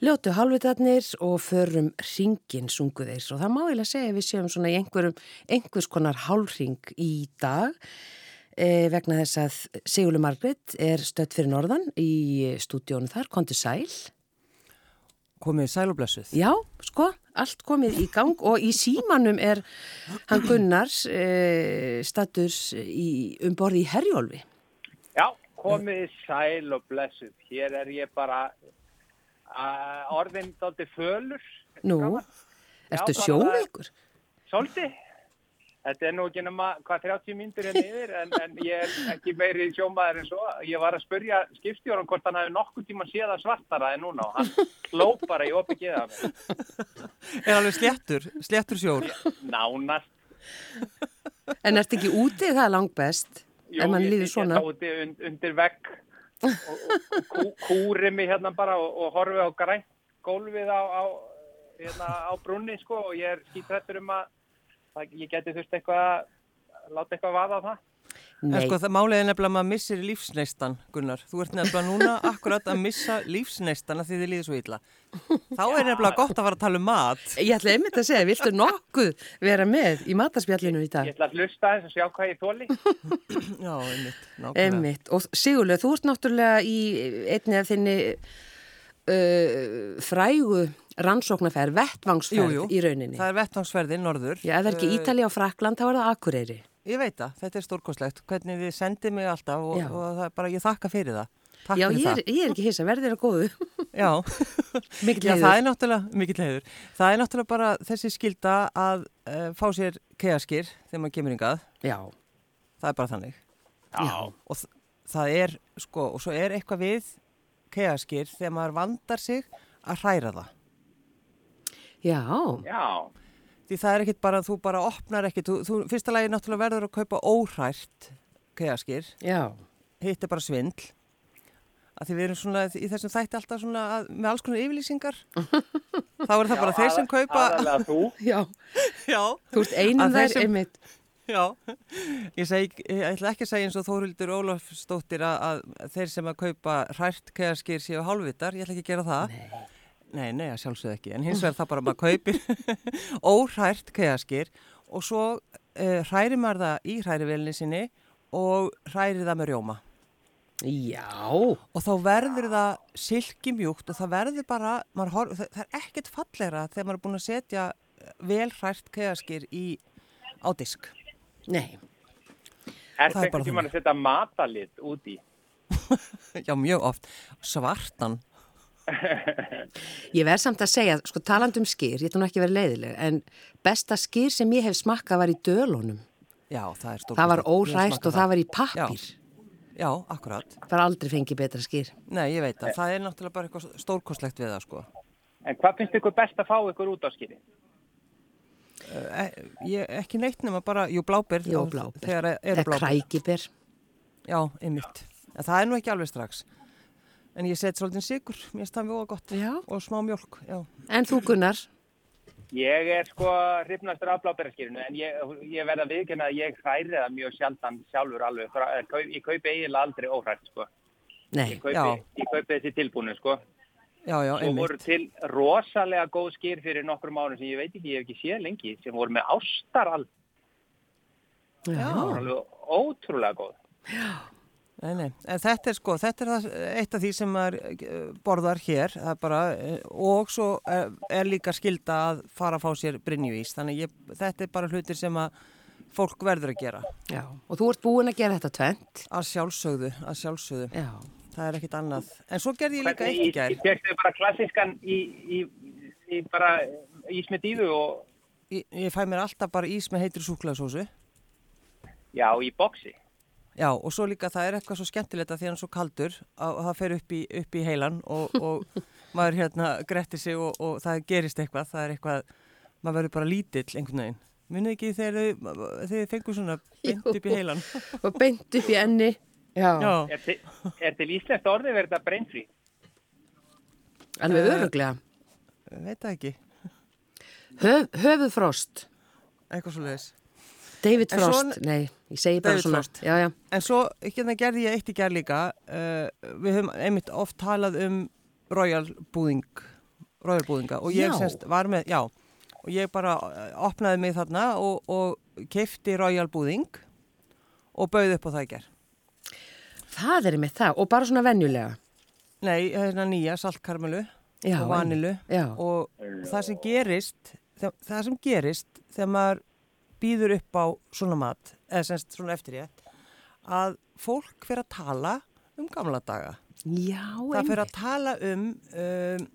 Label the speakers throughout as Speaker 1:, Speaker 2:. Speaker 1: Ljótu halvitarnir og förum ringin sungu þeir og það má ég að segja að við séum svona í einhverjum, einhvers konar hálfring í dag eh, vegna þess að Sigurlu Margrit er stött fyrir norðan í stúdíónu þar, Kondi Sæl.
Speaker 2: Komið sælublessuð.
Speaker 1: Já, sko, allt komið í gang og í símanum er hann Gunnars eh, status um borði í Herjólfi.
Speaker 3: Já, komið sæl og blessuð. Hér er ég bara uh, orðin þátti fölur.
Speaker 1: Nú, ertu sjóveikur?
Speaker 3: Svolítið. Þetta er nú ekki nema hvað 30 myndur er niður en, en ég er ekki meiri sjómaður en svo. Ég var að spurja skipstjóran hvort hann hafi nokkuð tíma séða svartara en núna og hann hló bara í opið geða mig.
Speaker 2: Er alveg sléttur, sléttur sjór.
Speaker 3: Nánast.
Speaker 1: En ertu ekki úti það er langt best?
Speaker 3: Jú,
Speaker 1: ef mann
Speaker 3: ég-
Speaker 1: líður svona?
Speaker 3: Ég þátti und, undir vegg og, og, og kú, kúri mig hérna bara og, og horfi á grænt gólfið á, á, hérna, á brunni sko og ég er skítrættur um að það, ég geti þurft eitthvað að láta eitthvað vaða á það.
Speaker 2: En
Speaker 1: Nei,
Speaker 2: sko það málið er nefnilega að maður missir lífsneistan, Gunnar. Þú ert nefnilega núna akkurat að missa lífsneistan að því þið líður svo illa. Þá er nefnilega gott að fara að tala um mat.
Speaker 1: ég ætla einmitt að segja, viltu nokkuð vera með í matarspjallinu í dag?
Speaker 3: Ég ætla að hlusta þess að sjá hvað ég þóli.
Speaker 2: Já, einmitt. nákvæmlega.
Speaker 1: Einmitt, og Sigurlega, þú ert náttúrulega í einni af þinni uh, frægu rannsóknarferð, vettvangsferð
Speaker 2: Jú, jú.
Speaker 1: í rauninni.
Speaker 2: Það er vettvangsferði norður. Eh,
Speaker 1: Já, ef það er ekki Ítalja og Frakland, þá er það Akureyri.
Speaker 2: Ég veit það, þetta er stórkoslegt. Hvernig þið sendið mig alltaf og,
Speaker 1: Já.
Speaker 2: og það er bara, ég þakka fyrir það. Takk
Speaker 1: Já,
Speaker 2: fyrir
Speaker 1: ég
Speaker 2: það.
Speaker 1: er, ég er ekki hissa, verðir að góðu.
Speaker 2: Já,
Speaker 1: Mikill
Speaker 2: Já,
Speaker 1: heiður.
Speaker 2: það er náttúrulega mikill heiður. Það er náttúrulega bara þessi skilda að uh, fá sér kegaskir þegar maður kemur yngað.
Speaker 1: Já,
Speaker 2: Það er bara þannig.
Speaker 3: Já.
Speaker 2: Og þ- það er, sko, og svo er eitthvað við kegaskir þegar maður vandar sig að hræra það.
Speaker 1: já,
Speaker 3: Já,
Speaker 2: Því það er ekkit bara, þú bara opnar ekkit, þú, þú fyrsta lagi náttúrulega verður að kaupa óhrært kegaskir.
Speaker 1: já,
Speaker 2: hitt er bara svindl að því við erum svona í þessum þætti alltaf svona að, með alls konar yfirlýsingar þá er það bara þeir sem kaupa
Speaker 3: aðalega þú.
Speaker 1: já.
Speaker 2: já,
Speaker 1: Þú ert
Speaker 2: Að
Speaker 1: einum
Speaker 2: þeir
Speaker 1: þær
Speaker 2: sem-
Speaker 1: einmitt.
Speaker 2: já ég, seg, ég ætla ekki að segja eins og Þórildur Ólafsdóttir að, að þeir sem að kaupa hrært kegaskýr séu hálfvitar, ég ætla ekki að gera það
Speaker 1: Nei.
Speaker 2: nei, nei, að sjálfsögðu ekki en hins vegar það bara að maður kaupir óhrært kegaskýr og svo uh, hræri maður það í hrærivelni sinni og hræri það með rjóma
Speaker 1: Já,
Speaker 2: og þá verður það silkimjúkt og það verður bara, maður horf, það, það er ekkert fallegra þegar maður er búin að setja vel hrært kegaskir í, á disk.
Speaker 1: nei.
Speaker 3: Er
Speaker 2: Það er
Speaker 3: það
Speaker 2: bara
Speaker 3: einhvern tíman að setja matalit úti?
Speaker 2: Já, mjög oft. Svartan.
Speaker 1: Ég verð samt að segja, sko taland um skýr, ég ætla nú ekki að vera leiðileg, en besta skýr sem ég hef smakkað var í dölunum.
Speaker 2: Já, það er stórkostlegt.
Speaker 1: Það var
Speaker 2: Ég
Speaker 1: órært
Speaker 2: smakka
Speaker 1: og það var í pappir.
Speaker 2: Já, já, akkurat.
Speaker 1: Það var aldrei fengið betra skýr.
Speaker 2: Nei, ég veit að það er náttúrulega bara eitthvað stórkostlegt við það, sko.
Speaker 3: En hvað finnst ykkur best að fá ykkur út á skýri?
Speaker 2: E, ég, ekki neitt nema bara, jú, blábér.
Speaker 1: Jó, bláber.
Speaker 2: Þegar eru
Speaker 1: Eða
Speaker 2: blábér.
Speaker 1: krækiber.
Speaker 2: Já, einmitt. En það er nú ekki alveg strax. En ég set svolítið sigur, mér finnst það mjög gott.
Speaker 1: Já.
Speaker 2: Og smá mjölk, já.
Speaker 1: En þú Gunnar,
Speaker 3: Ég er sko hrifnastur af blábæraskýrinu en ég, ég verð að viðkynna að ég hræri það mjög sjaldan sjálfur alveg. Frá- eh, kaup- Ég kaupi eiginlega aldrei óhrætt sko.
Speaker 1: nei,
Speaker 3: Ég kaupi,
Speaker 2: Já.
Speaker 3: ég kaupi þessi tilbúinu sko.
Speaker 2: Já, já,
Speaker 3: Svo voru
Speaker 2: einmitt.
Speaker 3: til rosalega góð skýr fyrir nokkrum árum sem ég veit ekki, ég hef ekki séð lengi, sem voru með ástarald. Það
Speaker 2: Já.
Speaker 3: var alveg ótrúlega góð.
Speaker 2: Nei, nei. En þetta er sko, þetta er það, eitt af því sem maður eh, borðar hér, það er bara, eh, og svo eh, er líka skilda að fara að fá sér brinjuvís, þannig ég, þetta er bara hlutir sem að fólk verður að gera,
Speaker 1: já. Og þú ert búin að gera þetta tvent.
Speaker 2: að sjálfsögðu, að sjálfsögðu,
Speaker 1: Já.
Speaker 2: það er ekkit annað. En svo gerði ég líka
Speaker 3: Hvernig
Speaker 2: eitt í
Speaker 3: ís-
Speaker 2: gær,
Speaker 3: ís- fékkstu bara klassískan í, í, í bara ís með dýfu og
Speaker 2: ég, ég fæ mér alltaf bara ís með heitri súklaðsósu,
Speaker 3: já, í boksi.
Speaker 2: já, og svo líka það er eitthvað svo skemmtilegt að því hann er svo kaldur að, að það fer upp í, upp í heilan og, og maður hérna grettir sig og, og það gerist eitthvað, það er eitthvað, maður verður bara lítill einhvern veginn. Munið ekki þegar þið, þegar þið fengur svona beint upp í heilan.
Speaker 1: Og beint upp í enni. Já.
Speaker 2: Já,
Speaker 3: Er til, er til íslenskt orði verið þetta breynfrí?
Speaker 2: Eh.
Speaker 1: Alveg öruglega.
Speaker 2: veit það ekki,
Speaker 1: Höf, höfuð Frost.
Speaker 2: eitthvað svo leiðis.
Speaker 1: David
Speaker 2: En
Speaker 1: Frost.
Speaker 2: svona-
Speaker 1: Nei, ég segi bara
Speaker 2: David
Speaker 1: svona.
Speaker 2: Frost.
Speaker 1: Já, já.
Speaker 2: En svo, hérna gerði ég eh, eitt í gerð líka, uh, við höfum einmitt oft talað um Royal Búðing rauðbúðinga og ég
Speaker 1: Já.
Speaker 2: semst var með, já, og ég bara eh, opnaði mig þarna og, og keifti rauðbúðing og bauði upp á það í ger.
Speaker 1: Það er með það og bara svona venjulega.
Speaker 2: Nei, hérna nýja saltkarmelu
Speaker 1: Já,
Speaker 2: og vanilu
Speaker 1: Já.
Speaker 2: og það sem gerist, það, það sem gerist þegar maður býður upp á svona mat, eða semst svona eftir ég, að fólk fyrir að tala um gamla daga.
Speaker 1: Já,
Speaker 2: það fyrir að
Speaker 1: einmitt.
Speaker 2: tala um, um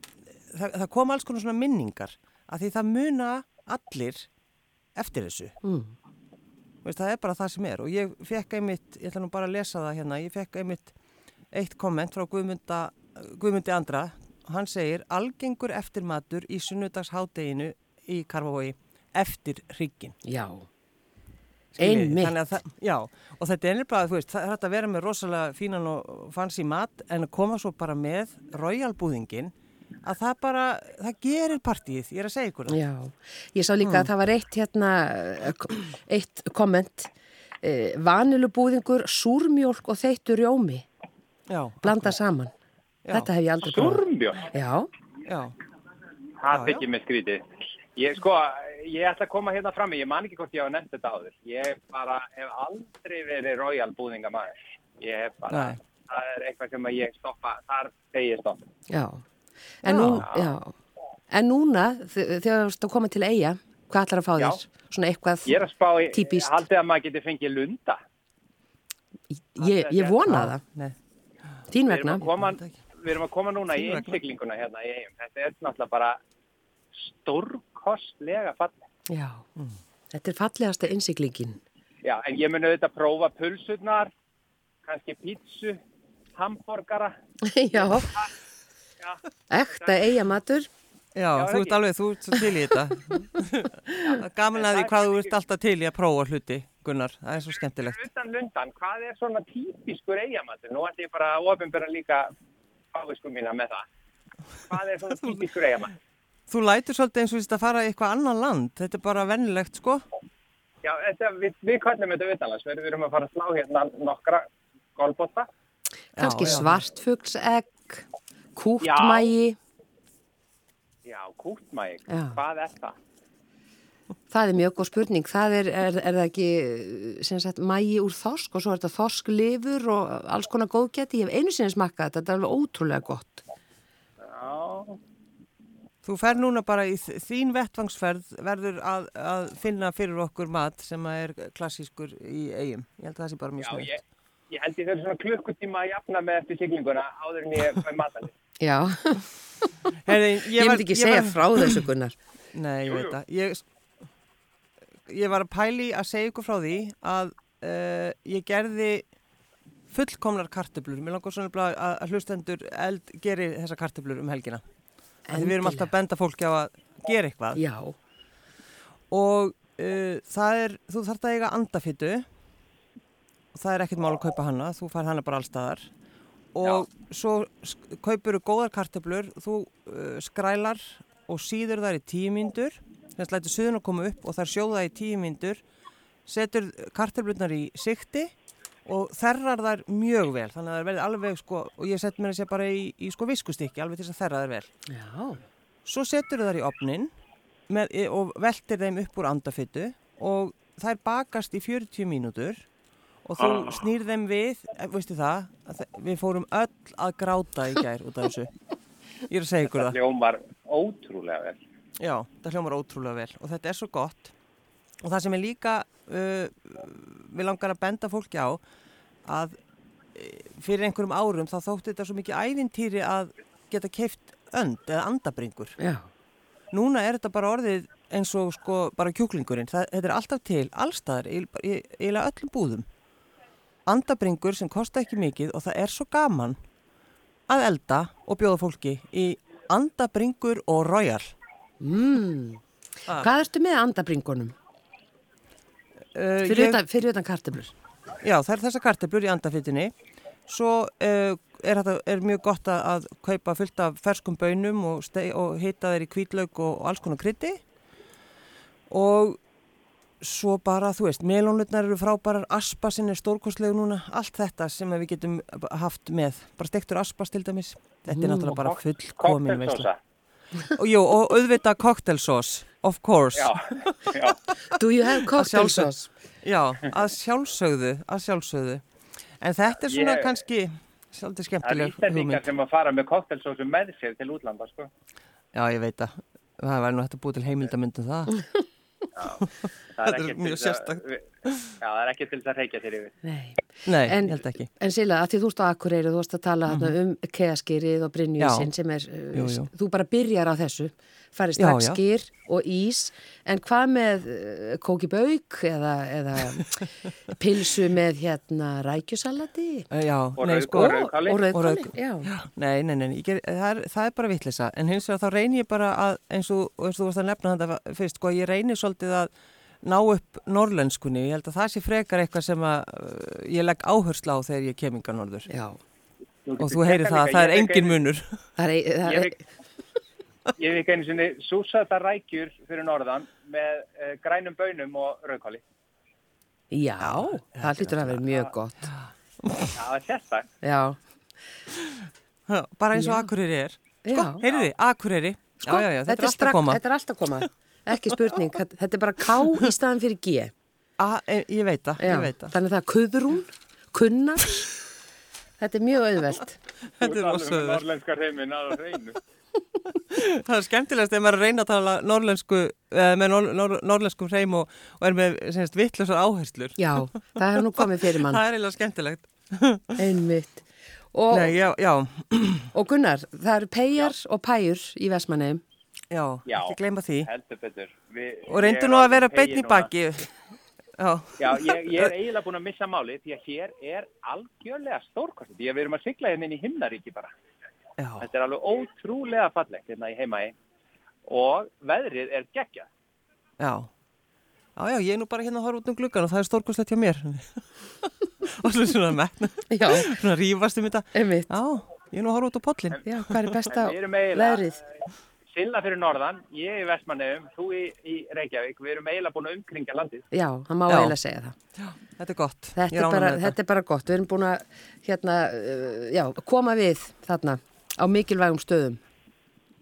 Speaker 2: það, það kom alls konar svona minningar að því það muna allir eftir þessu
Speaker 1: Mm.
Speaker 2: Veist, það er bara það sem er og ég fekk einmitt, ég ætla nú bara að lesa það hérna ég fekk einmitt eitt komment frá Guðmunda, Guðmundi Andra hann segir algengur eftirmatur í sunnudagshádeginu í Karfavogi eftir hrygginn
Speaker 1: Já,
Speaker 2: Skiljiði,
Speaker 1: Einmitt.
Speaker 2: þannig að það, já, og þetta er nefnilega, þú veist, það er hægt að vera með rosalega fínan og fancy mat en að koma svo bara með royalbúðingin að það bara, það gerir partíið, ég er að segja ykkur það.
Speaker 1: já. Ég sá
Speaker 3: Hmm.
Speaker 1: líka að það var eitt hérna, eh, k- eitt komment, eh, vanilubúðingur, súrmjólk og þeittur rjómi,
Speaker 2: Já,
Speaker 1: blanda saman.
Speaker 2: Já.
Speaker 1: Þetta hef ég aldrei prófað.
Speaker 3: Súrmjólk?
Speaker 1: Já,
Speaker 2: já, Já,
Speaker 3: Það
Speaker 2: já.
Speaker 3: þykir mér skrítið. Ég, sko, ég ætla að koma hérna fram í, ég man ekki hvort ég hafa nefnt þetta áður. Ég bara hef aldrei verið royal búðingamæður. Ég hef bara,
Speaker 2: Nei.
Speaker 3: það er eitthvað sem að ég stoppa, þar þegar ég stoppa.
Speaker 1: já. En,
Speaker 2: Já.
Speaker 1: Nú, já. en núna, þ- þegar þú ert að koma til eiga, hvað ætlar að fá
Speaker 3: Já.
Speaker 1: þér? Svona eitthvað
Speaker 3: Ég er að spá, í,
Speaker 1: Típist.
Speaker 3: haldið að maður geti fengið lunda.
Speaker 1: ég, ég vona það,
Speaker 2: nei,
Speaker 1: þín
Speaker 3: Við erum
Speaker 1: vegna.
Speaker 3: að koma, við erum að koma núna í
Speaker 2: Þín vegna.
Speaker 3: innsiklinguna hérna í eigum. Þetta er náttúrulega bara stórkostlega fallið.
Speaker 1: Já, þetta er fallegasta innsiklingin.
Speaker 3: Já, en ég mun auðvitað prófa pulsurnar, kannski pítsu, hambúrgara.
Speaker 1: já,
Speaker 3: Já,
Speaker 1: ekta eiga matur.
Speaker 2: já,
Speaker 3: Já,
Speaker 2: þú
Speaker 3: það
Speaker 2: ert alveg, þú ert svo til í þetta. Það er Gaman að því hvað þú ert alltaf til í að prófa hluti, Gunnar, það er svo skemmtilegt.
Speaker 3: utan lundan, hvað er svona típiskur eigamatur? Nú ætti ég bara að ofinbera líka fávisku mína með það. Hvað er svona típiskur eigamatur?
Speaker 2: Þú lætur svolítið eins og þú veist að fara í eitthvað annan land, þetta er bara vennilegt, sko.
Speaker 3: Já, þetta, við, við kvöldum þetta utanlands, við, við erum að fara að slá hérna nokkra golfbóta.
Speaker 1: Kanski
Speaker 2: já.
Speaker 1: svartfuglsegg, kúttmægi,
Speaker 3: Já, kútmæg,
Speaker 1: Já.
Speaker 3: hvað er það?
Speaker 1: það er mjög góð spurning. Það er, er, er það ekki, sem sagt, mægi úr þorsk og svo er þetta þorsklifur og alls konar góðgæti. Ég hef einu sinni smakkað þetta, þetta er alveg ótrúlega gott.
Speaker 3: Já,
Speaker 2: Þú fer núna bara í þ- þín vettvangsferð verður að, að finna fyrir okkur mat sem að er klassískur í eigum. Ég held að það sé bara mjög
Speaker 3: já
Speaker 2: snögt.
Speaker 3: ég, ég held ég þau svona klukkutíma að jafna með eftir siglinguna áður en ég með matalist.
Speaker 1: Já,
Speaker 2: Herði,
Speaker 1: ég, myndi ekki segja frá þessu Gunnar.
Speaker 2: Nei, ég
Speaker 3: Jú,
Speaker 2: veit
Speaker 3: jú.
Speaker 2: það. Ég, ég var að pæli að segja ykkur frá því að uh, ég gerði fullkomnar kartöblur. Mér langar svona nefnilega að, að hlustendur eld geri þessa kartöblur um helgina. Af því Við erum alltaf að benda fólki á að gera eitthvað.
Speaker 1: Já,
Speaker 2: og uh, það er, þú þarft að eiga andafittu og það er ekkert mál að kaupa hana, þú fær hana bara allstaðar og svo sk- kaupir þú góðar kartöflur, þú uh, skrælar og síður þær í tíu mínútur, þannig að lætur suðun að koma upp og þær sjóða í tíu mínútur, setur kartöflurnar í sikti og þerrar þær mjög vel, þannig að þær verði alveg sko, og ég set mér að segja bara í, í sko viskustykki, alveg til þess að þerra þær vel.
Speaker 1: já,
Speaker 2: Svo setur þær í opnin með, e, og veltir þeim upp úr andafittu og þær bakast í 40 mínútur og þú ah. snýr þeim við, eh, veistu það, að þe- við fórum öll að gráta í gær út af þessu. Ég er að segja ykkur það.
Speaker 3: Ljómar ótrúlega vel.
Speaker 2: Já, það hljómar ótrúlega vel og þetta er svo gott. Og það sem er líka, uh, við langar að benda fólki á, að eh, fyrir einhverjum árum þá þótti þetta svo mikið ævintýri að geta keift önd eða andabringur
Speaker 1: já.
Speaker 2: núna er þetta bara orðið eins og sko bara kjúklingurinn, það, þetta er alltaf til allstaðar, í- bara í eiginlega öllum búðum andabringur sem kosta ekki mikið og það er svo gaman að elda og bjóða fólki í andabringur og royal
Speaker 1: Mm.
Speaker 2: Ah.
Speaker 1: Hvað ertu með andabringunum?
Speaker 2: uh,
Speaker 1: Fyrir, utan, fyrir utan kartöflur.
Speaker 2: Já, það er þessa kartöflur í andafittinni. Svo uh, er, þetta, er mjög gott að, að kaupa fullt af ferskum bönum og, stei- og hita þeir í kvítlaug og, og alls konar krytti. Og svo bara, þú veist, melónutnar eru frábærar, aspasinn er stórkostlegu núna, allt þetta sem að við getum haft með. Bara stektur aspas til dæmis. Þetta er náttúrulega bara fullkomin, veist
Speaker 3: Koktelsosa.
Speaker 2: og jú, og auðvitað koktelsós, of course.
Speaker 3: já, já,
Speaker 1: Do you have cocktail
Speaker 2: sjálfsögðu.
Speaker 1: sauce?
Speaker 2: Já, að sjálfsögðu, að sjálfsögðu. En þetta er svona
Speaker 3: Ég-
Speaker 2: kannski svolítið
Speaker 3: það er
Speaker 2: skemmtileg
Speaker 3: íslendingar sem að fara með koktelsósum með sér til útlanda, sko.
Speaker 2: Já, ég veit að það væri nú hægt að búið til heimildamöndu það. Það er
Speaker 3: ekkert
Speaker 2: mjög
Speaker 3: til þess að-
Speaker 2: sérstakt.
Speaker 3: Já, það er ekki til þess að reykja þér yfir.
Speaker 1: Nei.
Speaker 2: Nei,
Speaker 1: En-
Speaker 2: ég held ekki.
Speaker 1: En Sila, að því þú ert á Akureyri, þú varst að tala mm um keaskýrið og brynjúsin
Speaker 2: Mhm. Já.
Speaker 1: sem er, uh,
Speaker 2: Jú, jú.
Speaker 1: þú bara byrjar á þessu, farið
Speaker 2: Já,
Speaker 1: strax
Speaker 2: já.
Speaker 1: skýr og ís, en hvað með uh, kókibauk eða, eða pilsu með hérna rækjusalati
Speaker 2: Eh, Já,
Speaker 3: Og
Speaker 2: nei,
Speaker 3: rauð-
Speaker 2: sko.
Speaker 3: og rauðkáli.
Speaker 1: og rauðkáli,
Speaker 2: Og
Speaker 1: já.
Speaker 2: Nei, nei, nei, ég ger, það, er, það er bara vittlisa en hins vegar þá reynir ég bara að eins og, og eins og þú varst að nefna þetta fyrst sko, ég reynir svolítið að ná upp norlenskunni, ég held að það sé frekar eitthvað sem að uh, ég legg áherslu á þegar ég kem inga norður
Speaker 1: já.
Speaker 2: og þú heyrir það, það er engin munur
Speaker 1: Það er, það
Speaker 3: Ég
Speaker 1: er,
Speaker 3: fikk, ég fikk einu sinni súsata rækjur fyrir norðan með uh, grænum bönum og rauðkáli.
Speaker 1: já, það lítur að vera mjög gott,
Speaker 3: Já, það er sérstakt.
Speaker 1: já,
Speaker 2: Ha, bara eins og
Speaker 1: Já.
Speaker 2: Akureyri er sko,
Speaker 1: Já.
Speaker 2: heyrið þið, Akureyri
Speaker 1: sko,
Speaker 2: já, já, já, þetta, er alltaf
Speaker 1: strax-
Speaker 2: að koma
Speaker 1: Þetta er alltaf koma, ekki spurning, þetta þetta er bara K í staðan fyrir G.
Speaker 2: A, e, ég veit það,
Speaker 1: Já,
Speaker 2: ég veit það
Speaker 1: þannig að það er kuðrún, kunnar, þetta er mjög auðvelt.
Speaker 2: þetta er rosaður
Speaker 3: Norlenskar heiminn að reynu.
Speaker 2: Það er skemmtilegast ef maður er að reyna að tala norlensku, eh, með nor, nor, norlenskum hreim og, og er með vittlusar áherslur.
Speaker 1: Já, það hefur nú komið fyrir mann,
Speaker 2: Það er eiginlega skemmtilegt.
Speaker 1: einmitt. Og,
Speaker 2: Nei, já, já,
Speaker 1: og Gunnar, það eru peyjar og pæjur í Vestmanneum.
Speaker 2: já,
Speaker 3: Já.
Speaker 2: ekki gleyma því.
Speaker 3: Heldur betur. Vi,
Speaker 2: Og reyndu nú að vera beinn í baki. Já,
Speaker 3: Já, ég, ég er eiginlega búin að missa máli því að hér er algjörlega stórkostið. Því að við erum að sigla hérna inn í himnaríki bara.
Speaker 2: já,
Speaker 3: Þetta er alveg ótrúlega fallegt hérna í heimaði. Og veðrið er geggjað.
Speaker 2: já. Já, já, ég er nú bara hérna að horfa út um gluggan og það er stórkoslegt hjá mér. og svo svona metna,
Speaker 1: Já,
Speaker 2: svona rífast um þetta.
Speaker 1: einmitt.
Speaker 2: Já, ég er nú að horfa út á pollin.
Speaker 1: Já, hvað er besta
Speaker 3: Við erum eiginlega-
Speaker 1: leðrið?
Speaker 3: Silla fyrir norðan, ég í Vestmanneum, þú í, í Reykjavík. Við erum eiginlega búin að umkringja landið.
Speaker 1: Já, það má
Speaker 2: Já.
Speaker 1: eiginlega segja það.
Speaker 2: Þetta er gott.
Speaker 1: Þetta
Speaker 2: Ég
Speaker 1: er,
Speaker 2: ánægð
Speaker 1: bara,
Speaker 2: með
Speaker 1: þetta er bara gott, við erum búin að hérna, uh, já, koma við þarna á mikilvægum stöðum.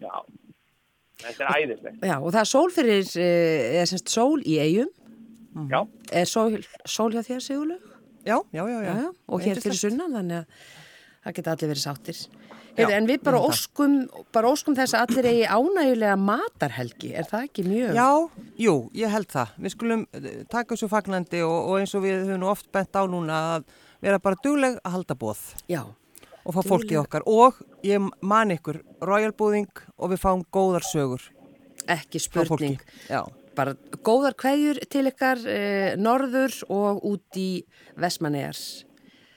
Speaker 3: Já, þetta er æðislegt.
Speaker 1: Já, og það er sól fyrir, uh, er semst sól í eigum, Mhm.
Speaker 3: Já,
Speaker 1: er sól, sól hjá þér Sigurlaug?
Speaker 2: Já, já, já, já.
Speaker 1: já, já, og hér fyrir
Speaker 2: Yndislegt.
Speaker 1: sunnan þannig að það geta allir verið sáttir Heyrðu,
Speaker 2: Já,
Speaker 1: en við bara
Speaker 2: ég held það.
Speaker 1: óskum, bara óskum þess að allir eigi ánægulega matarhelgi er það ekki mjög
Speaker 2: Já, jú, ég held það. Við skulum eh, taka þessu fagnandi og, og eins og við höfum nú oft bent á núna að vera bara dugleg að halda bóð
Speaker 1: Já,
Speaker 2: og fá fólkið okkar og ég man ykkur Royal Búðing og við fáum góðar sögur
Speaker 1: ekki
Speaker 2: frá fólki.
Speaker 1: spurning
Speaker 2: Já,
Speaker 1: bara góðar kveðjur til ykkar eh, norður og út í Vestmannegar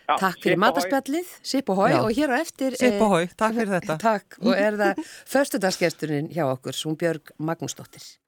Speaker 3: já
Speaker 1: Takk
Speaker 3: Sip
Speaker 1: fyrir
Speaker 3: ahoy.
Speaker 1: matarspjallið, Sip og Hói
Speaker 2: Já.
Speaker 1: og hér á eftir
Speaker 2: Sip
Speaker 1: eh,
Speaker 2: ahoy, takk fyrir þetta.
Speaker 1: Takk og er það förstudagsgesturinn hjá okkur, hún Björg Magnúsdóttir